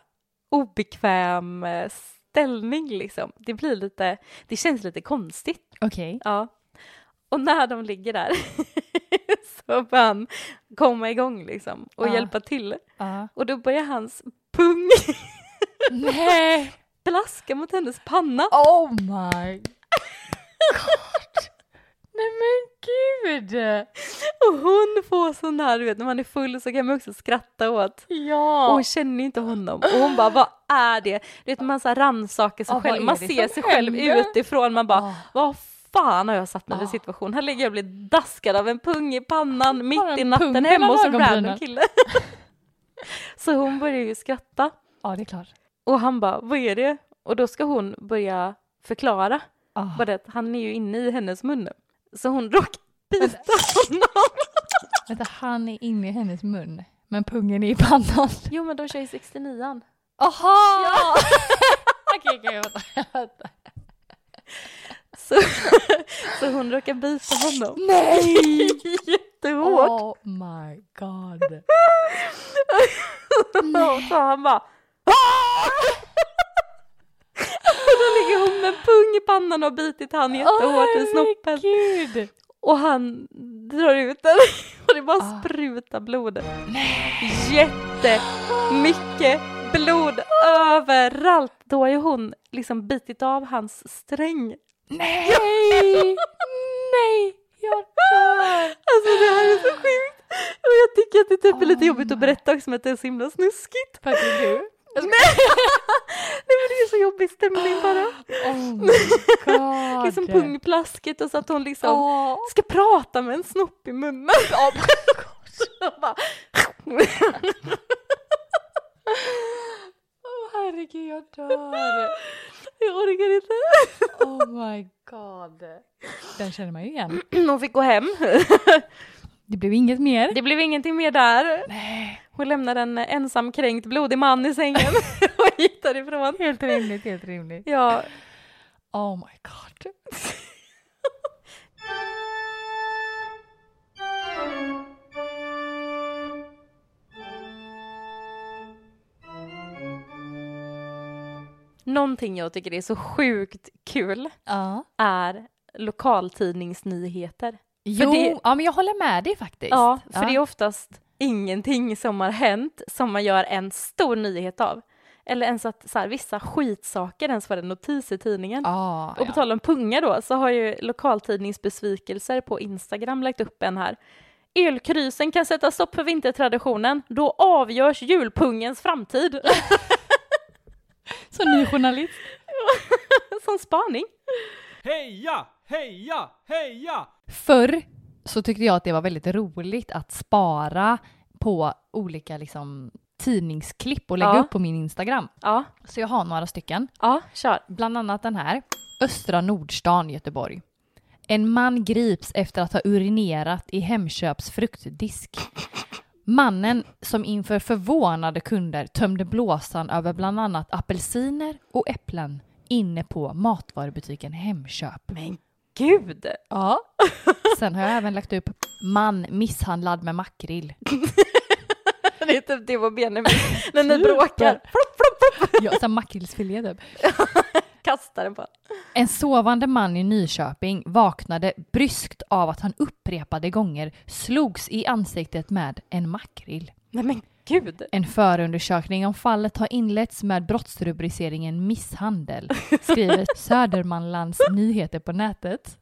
S2: obekväm eh, ställning liksom. Det blir lite, det känns lite konstigt.
S1: Okej.
S2: Ja. Och när de ligger där så får han komma igång liksom och
S1: Ja.
S2: hjälpa till.
S1: Ja.
S2: Och då börjar hans pung
S1: Nej!
S2: plaska mot hennes panna.
S1: Oh my god! Nej men gud!
S2: Och hon får sån här, du vet när man är full så kan man också skratta åt.
S1: Ja!
S2: Och hon känner ju inte honom. Och hon bara, vad är det? Du vet man så här rannsakar sig
S1: Ja, vad
S2: själv,
S1: är
S2: man
S1: det
S2: ser
S1: som
S2: sig själv
S1: händer?
S2: utifrån. Man bara,
S1: Ja.
S2: vad fan har jag satt mig i för situation? Här ligger jag och blir daskad av en pung i pannan mitt i
S1: en
S2: natten
S1: pung
S2: hemma hos en
S1: mellan
S2: random
S1: ögonbrynen.
S2: kille. så hon börjar ju skratta.
S1: ja, det är klart.
S2: Och han bara, vad är det? Och då ska hon börja förklara.
S1: Ah.
S2: Bara det att han är ju inne i hennes mun. nu. Så hon råkar bita honom.
S1: Vänta, han är inne i hennes mun, men pungen är i pannan.
S2: Jo men de kör ju 69an.
S1: Aha! Ja. Okej, okej, vänta. vänta.
S2: Så, så hon råkar bita honom.
S1: Nej!
S2: Jättehårt.
S1: Oh my god.
S2: Så han bara "Ah!" Och då ligger hon med pung i pannan och har bitit han jättehårt i snoppen.
S1: Herregud!
S2: Och han drar ut den och det bara sprutar blod. Jättemycket blod överallt. Då har ju hon liksom bitit av hans sträng.
S1: Nej! Nej! Jag dör!
S2: Alltså det här är så sjukt. Och jag tycker att det typ är lite jobbigt att berätta också med att det är så himla snuskigt.
S1: För att det är du?
S2: Nej men det är så jobbig stämning bara.
S1: Oh my god.
S2: Liksom pungplasket och så att hon liksom
S1: Ah, Åh.
S2: ska prata med en snopp i munnen. Och bara-
S1: Åh, herregud, jag dör.
S2: jag orkar inte.
S1: Oh my god. Den känner man ju igen.
S2: Hon fick gå hem.
S1: Det blev inget mer.
S2: Det blev ingenting mer där. Hon lämnade en ensam kränkt blodig man i sängen och gick därifrån.
S1: Helt rimligt, helt rimligt.
S2: Ja,
S1: Oh my god.
S2: någonting jag tycker är så sjukt kul
S1: Ja.
S2: är lokaltidningsnyheter.
S1: Jo,
S2: det-
S1: ja, men jag håller med dig faktiskt.
S2: Ja, för det är oftast ingenting som har hänt som man gör en stor nyhet av. Eller ens att så här, vissa skitsaker ens var en notis i tidningen.
S1: Ja,
S2: Och på tal om punga då, så har ju lokaltidningsbesvikelser på Instagram lagt upp en här. Ölkrysen kan sätta stopp för vintertraditionen, då avgörs julpungens framtid.
S1: Så ny journalist.
S2: Som spaning.
S7: Heja! Heja! Heja!
S1: Förr så tyckte jag att det var väldigt roligt att spara på olika liksom, tidningsklipp och lägga
S2: Ja.
S1: upp på min Instagram.
S2: Ja,
S1: Så jag har några stycken.
S2: ja, kör.
S1: Bland annat den här. Östra Nordstan, Göteborg. En man grips efter att ha urinerat i Hemköps fruktdisk. Mannen som inför förvånade kunder tömde blåsan över bland annat apelsiner och äpplen inne på matvarubutiken Hemköp.
S2: Men gud!
S1: Ja. Sen har jag även lagt upp man misshandlad med makrill.
S2: Det är typ det var Benjamin när ni bråkar. Flopp, flopp, flopp.
S1: Ja, så här makrillsfilé typ.
S2: Kastar den på
S1: En sovande man i Nyköping vaknade bryskt av att han upprepade gånger slogs i ansiktet med en makrill.
S2: Nej men gud!
S1: En förundersökning om fallet har inletts med brottsrubriceringen misshandel, skriver Södermanlands Nyheter på nätet.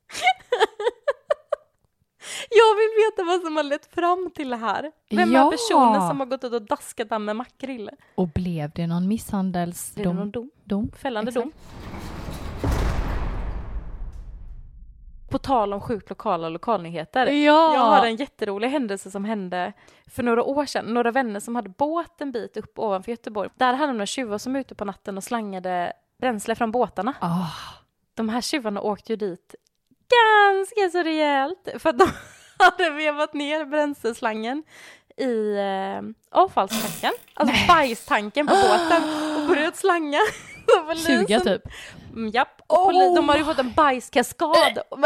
S2: Jag vill veta vad som har lett fram till det här. Vem är
S1: Ja.
S2: personen som har gått ut och daskat han med makrill?
S1: Och blev det någon
S2: Blev det
S1: misshandelsdom?
S2: någon dom? Fällande
S1: Exakt.
S2: dom. På tal om sjukt lokala lokalnyheter.
S1: Ja!
S2: Jag har en jätterolig händelse som hände för några år sedan. Några vänner som hade båt en bit upp ovanför Göteborg. Där hade de några tjuvar som var ute på natten och slangade bränsle från båtarna.
S1: Ah,
S2: De här tjuvarna åkte ju dit ganska så rejält för att de hade vevat ner bränsleslangen i eh, avfallstanken, alltså bajstanken på båten och börjat slanga. Så polisen-
S1: 20 typ.
S2: Mm, japp, och poli-
S1: Oh
S2: de har ju fått en bajskaskad. Och-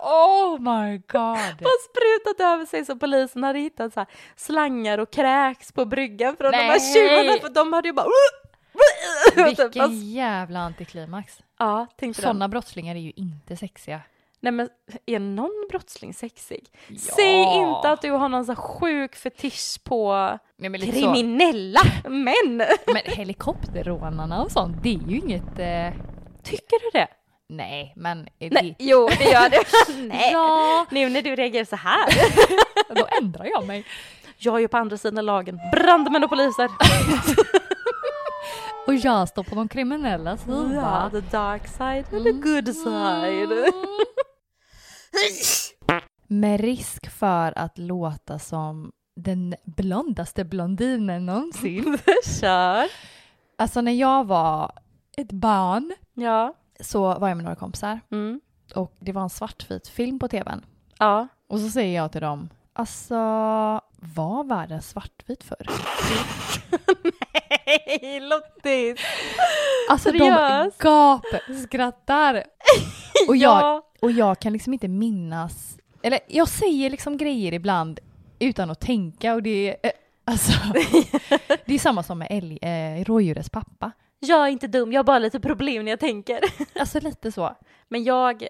S1: Oh my god!
S2: och sprutat över sig så polisen hade hittat så här slangar och kräks på bryggan från de här
S1: Nej.
S2: tjuvarna för de hade ju bara Typ,
S1: Vilken
S2: alltså,
S1: jävla antiklimax.
S2: ja, tänkte de.
S1: Sådana brottslingar är ju inte sexiga.
S2: Nej men är någon brottsling sexig? Säg inte att du har någon så här sjuk fetisch på
S1: Nej, men lite så.
S2: kriminella män!
S1: Men helikopterrånarna och sånt, det är ju inget... Eh...
S2: Tycker du det?
S1: Nej, men... är
S2: Nej, jo det gör du. Nej.
S1: Ja,
S2: Nu när du reagerar så här.
S1: då ändrar jag mig.
S2: Jag är ju på andra sidan lagen. Brandmän och poliser.
S1: Och jag står på de kriminella
S2: Ja,
S1: sida.
S2: ah, the dark side and
S1: Mm.
S2: the good side.
S1: Med risk för att låta som den blondaste blondinen någonsin.
S2: Kör.
S1: Alltså när jag var ett barn
S2: Ja.
S1: så var jag med några kompisar
S2: Mm.
S1: och det var en svartvit film på tvn.
S2: Ja.
S1: Och så säger jag till dem, alltså var världen svartvit för?
S2: Hej Lottis!
S1: Alltså de
S2: Seriöst?
S1: gapskrattar. Och jag,
S2: Ja.
S1: och jag kan liksom inte minnas, eller jag säger liksom grejer ibland utan att tänka och det är, eh, alltså, det är samma som med älg, eh, rådjurets pappa.
S2: Jag är inte dum, jag har bara lite problem när jag tänker.
S1: Alltså lite så.
S2: Men jag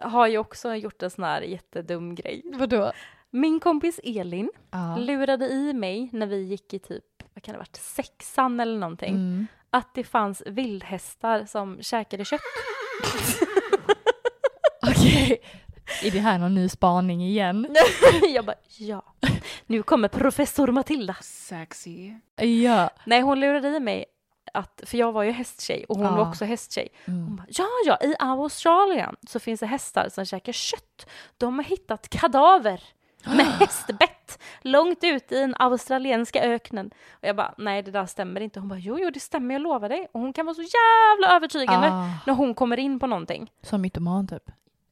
S2: har ju också gjort en sån här jättedum grej.
S1: Vadå?
S2: Min kompis Elin
S1: Ja.
S2: lurade i mig när vi gick i typ, vad kan det ha varit, sexan eller någonting,
S1: Mm.
S2: att det fanns vildhästar som käkade kött.
S1: Okej, är det här någon ny spaning igen?
S2: jag bara, ja. Nu kommer professor Matilda.
S4: Sexy.
S1: Ja.
S2: Nej, hon lurade i mig att, för jag var ju hästtjej och hon
S1: Ja.
S2: var också hästtjej. Hon
S1: Mm.
S2: bara, ja, ja, i Australien så finns det hästar som käkar kött. De har hittat kadaver med hästbett långt ute i den australienska öknen. Och jag bara, nej det där stämmer inte. Hon bara, jo, jo det stämmer, jag lovar dig. Och hon kan vara så jävla övertygande
S1: Ah.
S2: när hon kommer in på någonting.
S1: Som mytoman typ.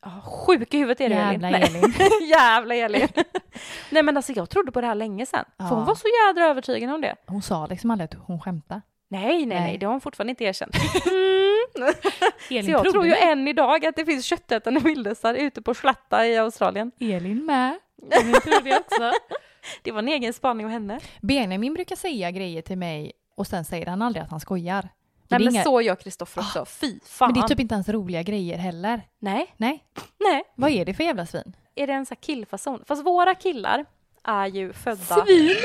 S2: Ja, sjuk i huvudet är du Elin.
S1: Jävla
S2: Nej.
S1: Elin.
S2: jävla Elin. nej men alltså jag trodde på det här länge sedan. För hon
S1: Ja.
S2: var så jädra övertygande om det.
S1: Hon sa liksom aldrig att hon skämtade.
S2: Nej, nej,
S1: Nej.
S2: nej, det har hon fortfarande inte erkänt. Mm. Så jag tror ju
S1: mig.
S2: än idag att det finns köttätande vildhästar ute på Slatta i Australien.
S1: Elin med. Jag tror det också.
S2: Det var en egen spaning av henne.
S1: Benjamin brukar säga grejer till mig och sen säger han aldrig att han skojar. Och
S2: Nej
S1: det är
S2: men
S1: inga- Ah,
S2: så gör Kristoffer också, fy fan.
S1: men det är typ inte ens roliga grejer heller.
S2: Nej,
S1: Nej,
S2: nej.
S1: vad är det för jävla svin?
S2: Är det en sån här killfason? Fast våra killar är ju födda... Svin!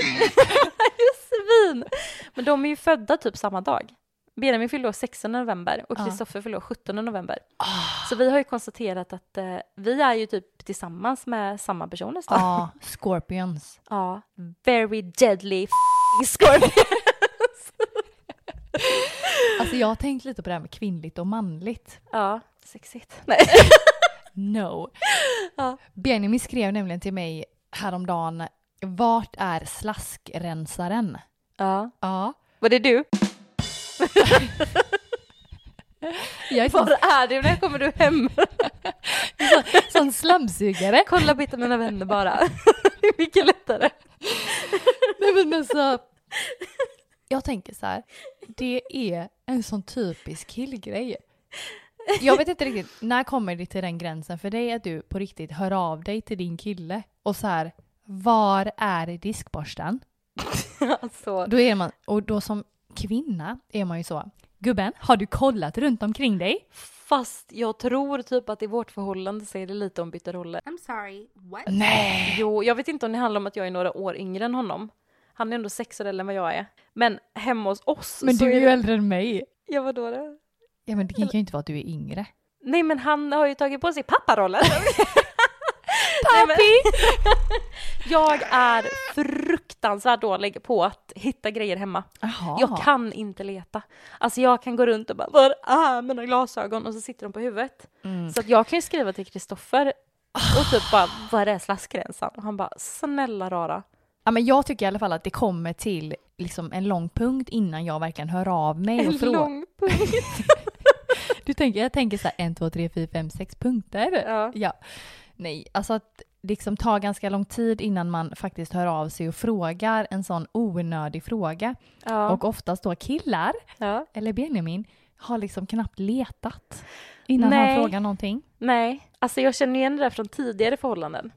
S2: Men de är ju födda typ samma dag. Benjamin fyllde år 16 november och
S1: Ja.
S2: Kristoffer fyllde år 17 november. Så vi har ju konstaterat att eh, vi är ju typ tillsammans med samma person nästan.
S1: Ja, scorpions.
S2: Ja, very deadly f***ing scorpion.
S1: Alltså jag har tänkt lite på det här med kvinnligt och manligt.
S2: Ja, sexigt. Nej.
S1: No.
S2: Ja.
S1: Benjamin skrev nämligen till mig häromdagen, vart är slaskrensaren?
S2: Ja.
S1: Ja,
S2: Var det du?
S1: jag är
S2: Var
S1: sån,
S2: är du? När kommer du hem?
S1: sån slamsugare.
S2: Kolla lite mina vänner bara. Det är mycket lättare.
S1: Nej men alltså. Jag tänker så här. Det är en sån typisk killgrej. Jag vet inte riktigt, när kommer det till den gränsen för dig att du på riktigt hör av dig till din kille och så här, var är diskborsten?
S2: Alltså,
S1: Då är man, och då som kvinna är man ju så, gubben, har du kollat runt omkring dig?
S2: fast jag tror typ att i vårt förhållande säger det lite om bytta roller.
S8: I'm sorry, what?
S1: Nej!
S2: Jo, jag vet inte om det handlar om att jag är några år yngre än honom. Han är ändå sex år äldre än vad jag är. Men hemma hos oss
S1: Men
S2: så
S1: du är ju
S2: det...
S1: äldre än mig.
S2: Ja, vadå då?
S1: Ja men det kan ju inte vara att du är yngre.
S2: Nej, men han har ju tagit på sig papparollen. Nej, men-
S1: Pappi!
S2: Jag är fruktansvärt dålig på att hitta grejer hemma.
S1: Jaha.
S2: Jag kan inte leta. Alltså jag kan gå runt och bara var är mina glasögon och så sitter de på huvudet.
S1: Mm.
S2: Så att jag kan ju skriva till Kristoffer och typ bara var är slaskgränsen? Och han bara snälla rara.
S1: Ja, men jag tycker i alla fall att det kommer till liksom en lång punkt innan jag verkligen hör av mig och
S2: En
S1: frågar.
S2: lång punkt.
S1: Du tänker, jag tänker så här en, två, tre, fyra, fem, sex punkter.
S2: Ja.
S1: Nej, alltså att liksom ta ganska lång tid innan man faktiskt hör av sig och frågar en sån onödig fråga.
S2: Ja.
S1: Och oftast då killar,
S2: ja.
S1: eller Benjamin, har liksom knappt letat innan
S2: Nej.
S1: han frågar någonting.
S2: Nej, alltså jag känner igen det där från tidigare förhållanden.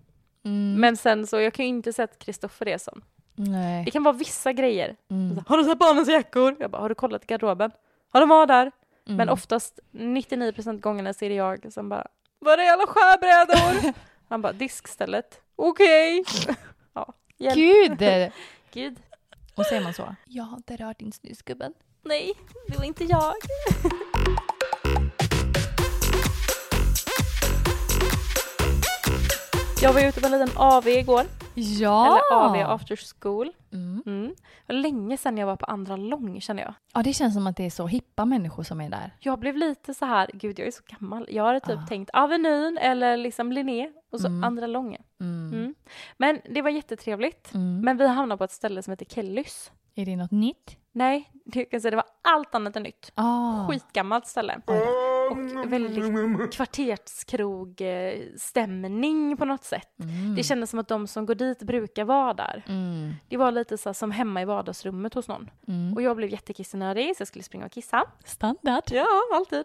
S1: Mm,
S2: Men sen så, jag kan ju inte säga att Kristoffer är sån. Det
S1: nej.
S2: kan vara vissa grejer.
S1: Mm,
S2: Har du sett barnens jackor? Jag bara, har du kollat i garderoben? Har de var där?
S1: mm.
S2: Men oftast, 99% gångerna ser det jag som bara, var är alla skärbrädor? Han bara, diskstället. Okej. ja, hjälp.
S1: Gud!
S2: Gud.
S1: Och säger man så? Jag har inte rört din snusgubben.
S2: Nej, det var inte jag. Jag var ute på en liten AV igår,
S1: Ja!
S2: eller AV after school.
S1: Mm.
S2: Mm. Det var länge sedan jag var på andra lång känner jag.
S1: Ja, det känns som att det är så hippa människor som är där.
S2: Jag blev lite så här, gud jag är så gammal. Jag hade typ
S1: Ah.
S2: tänkt Avenyn eller liksom Linné och så
S1: Mm.
S2: andra lången.
S1: Mm.
S2: Mm. Men det var jättetrevligt.
S1: Mm.
S2: Men vi hamnade på ett ställe som heter Kellys.
S1: Är det något nytt?
S2: Nej, det, jag kan säga, det var allt annat än nytt.
S1: Ah.
S2: Skitgammalt ställe.
S1: Oj då.
S2: Och väldigt kvarterskrogstämning på något sätt.
S1: Mm.
S2: Det kändes som att de som går dit brukar vara där.
S1: Mm.
S2: Det var lite så här, som hemma i vardagsrummet hos någon.
S1: Mm.
S2: Och jag blev jättekissnödig så jag skulle springa och kissa.
S1: Standard.
S2: Ja, alltid.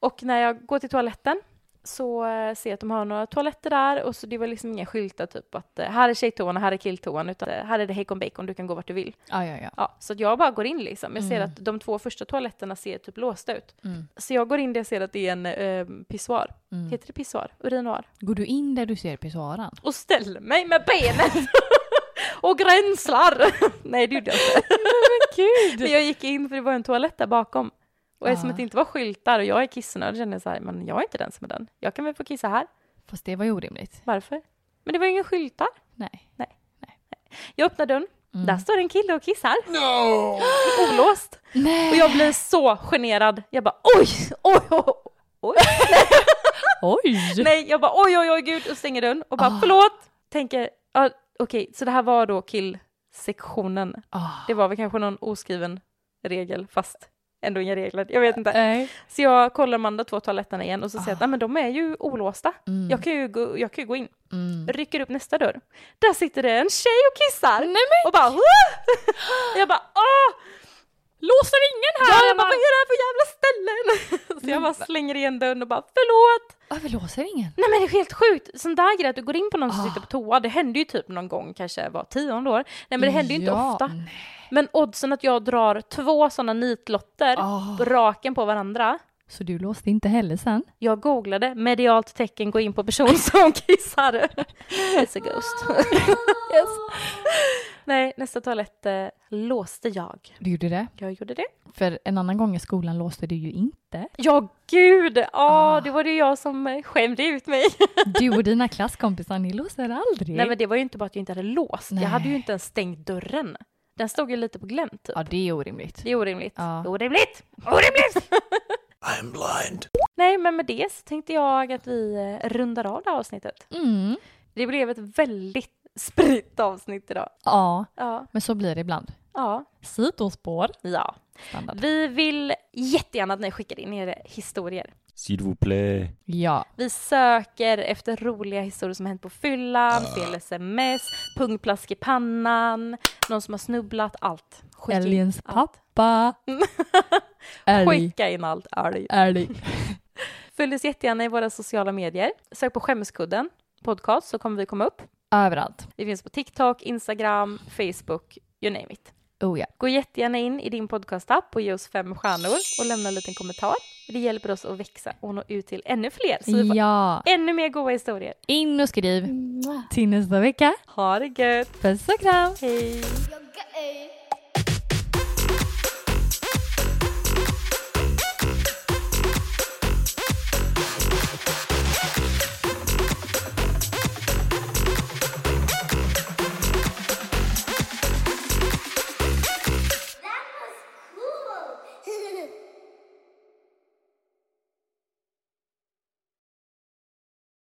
S2: Och när jag går till toaletten så eh, ser jag att de har några toaletter där och så det var liksom inga skyltar typ att eh, här är tjejtoan och här är killtoan utan eh, här är det hejkon bacon, du kan gå vart du vill.
S1: Ja, ja, ja.
S2: Ja, så att jag bara går in liksom. Jag ser
S1: Mm.
S2: att de två första toaletterna ser typ låsta ut.
S1: Mm.
S2: Så jag går in där jag ser att det är en eh, pissoar.
S1: Mm.
S2: Heter det pissoar? Urinoar.
S1: Går du in där du ser pissoaren?
S2: Och ställer mig med benet och gränslar. Nej, det gjorde jag inte.
S1: Gud! Ah.
S2: Men jag gick in för det var en toalett där bakom. Och eftersom
S1: Ja.
S2: att det inte var skyltar och jag är kissnödig kände jag så här, men jag är inte den som är den. Jag kan väl få kissa här?
S1: Fast det var ju orimligt.
S2: Varför? Men det var ju inga skyltar.
S1: Nej.
S2: Jag öppnar dörren,
S1: Mm.
S2: där står en kille och kissar. Olåst.
S1: Nej!
S2: Och jag blir så generad. Jag bara oj, oj, oj, oj.
S1: Oj!
S2: Nej, jag bara oj, oj, oj, gud och stänger dörren och bara
S1: Ah.
S2: förlåt. Tänker, ja, okej, så det här var då killsektionen.
S1: Ah.
S2: Det var väl kanske någon oskriven regel, fast ändå inga regler. Jag vet inte.
S1: Nej.
S2: Så jag kollar de andra två toaletterna igen och så ser jag att
S1: Eh. Ah.
S2: "Nej, men de är ju olåsta.
S1: Mm.
S2: Jag, kan ju gå, jag kan ju gå in.
S1: Mm.
S2: Rycker upp nästa dörr. Där sitter det en tjej och kissar.
S1: Nej men
S2: Och bara "Wah!" Jag bara "Ah!" åh! Låser ingen här? Ja, jag bara vad är det här för jävla ställen? Så jag bara slänger igen dörren och bara förlåt.
S1: varför låser ingen?
S2: Nej men det är helt sjukt. Sån där grej att du går in på någon som
S1: Ah.
S2: sitter på toa. Det hände ju typ någon gång kanske var tionde år. Nej men det hände ju inte
S1: Ja,
S2: ofta.
S1: nej.
S2: Men oddsen att jag drar två sådana nitlotter
S1: Ah.
S2: raken på varandra.
S1: Så du låste inte heller sen?
S2: Jag googlade medialt tecken gå in på person som kissar. It's a ghost. yes. Nej, nästa toalett eh, låste jag.
S1: Du gjorde det?
S2: Jag gjorde det.
S1: För en annan gång i skolan låste du ju inte.
S2: Ja, gud! Ja,
S1: Ah.
S2: det var det jag som eh, skämde ut mig.
S1: Du och dina klasskompisar, ni låser aldrig.
S2: Nej, men det var ju inte bara att jag inte hade låst.
S1: Nej.
S2: Jag hade ju inte ens stängt dörren. Den stod ju lite på glänt, typ.
S1: Ja, det är orimligt.
S2: Det är orimligt.
S1: Ja.
S2: Orimligt! Orimligt!
S5: I'm blind.
S2: Nej, men med det så tänkte jag att vi eh, rundar av det här avsnittet.
S1: Mm.
S2: Det blev ett väldigt spritt avsnitt idag.
S1: Ja,
S2: Ja,
S1: men så blir det ibland.
S2: ja.
S1: Sidospår.
S2: Ja.
S1: Standard.
S2: Vi vill jättegärna att ni skickar in era historier.
S8: S'il vous plaît.
S1: Ja.
S2: Vi söker efter roliga historier som har hänt på fyllan, fel sms, pungplask i pannan, någon som har snubblat, allt. Skicka
S1: Älgens
S2: in allt.
S1: pappa. Älg.
S2: Skicka in allt, älg.
S1: Älg.
S2: Följ oss jättegärna i våra sociala medier. Sök på Skämskudden podcast så kommer vi komma upp.
S1: Överallt.
S2: Vi finns på TikTok, Instagram, Facebook, you name it.
S1: Oh ja.
S2: Gå jättegärna in i din podcastapp och ge oss fem stjärnor och lämna en liten kommentar. Det hjälper oss att växa och nå ut till ännu fler så vi får
S1: Ja.
S2: ännu mer goda historier.
S1: In och skriv. Till nästa vecka.
S2: Ha det gött!
S1: Puss och kram.
S2: Hej!
S9: You're gay.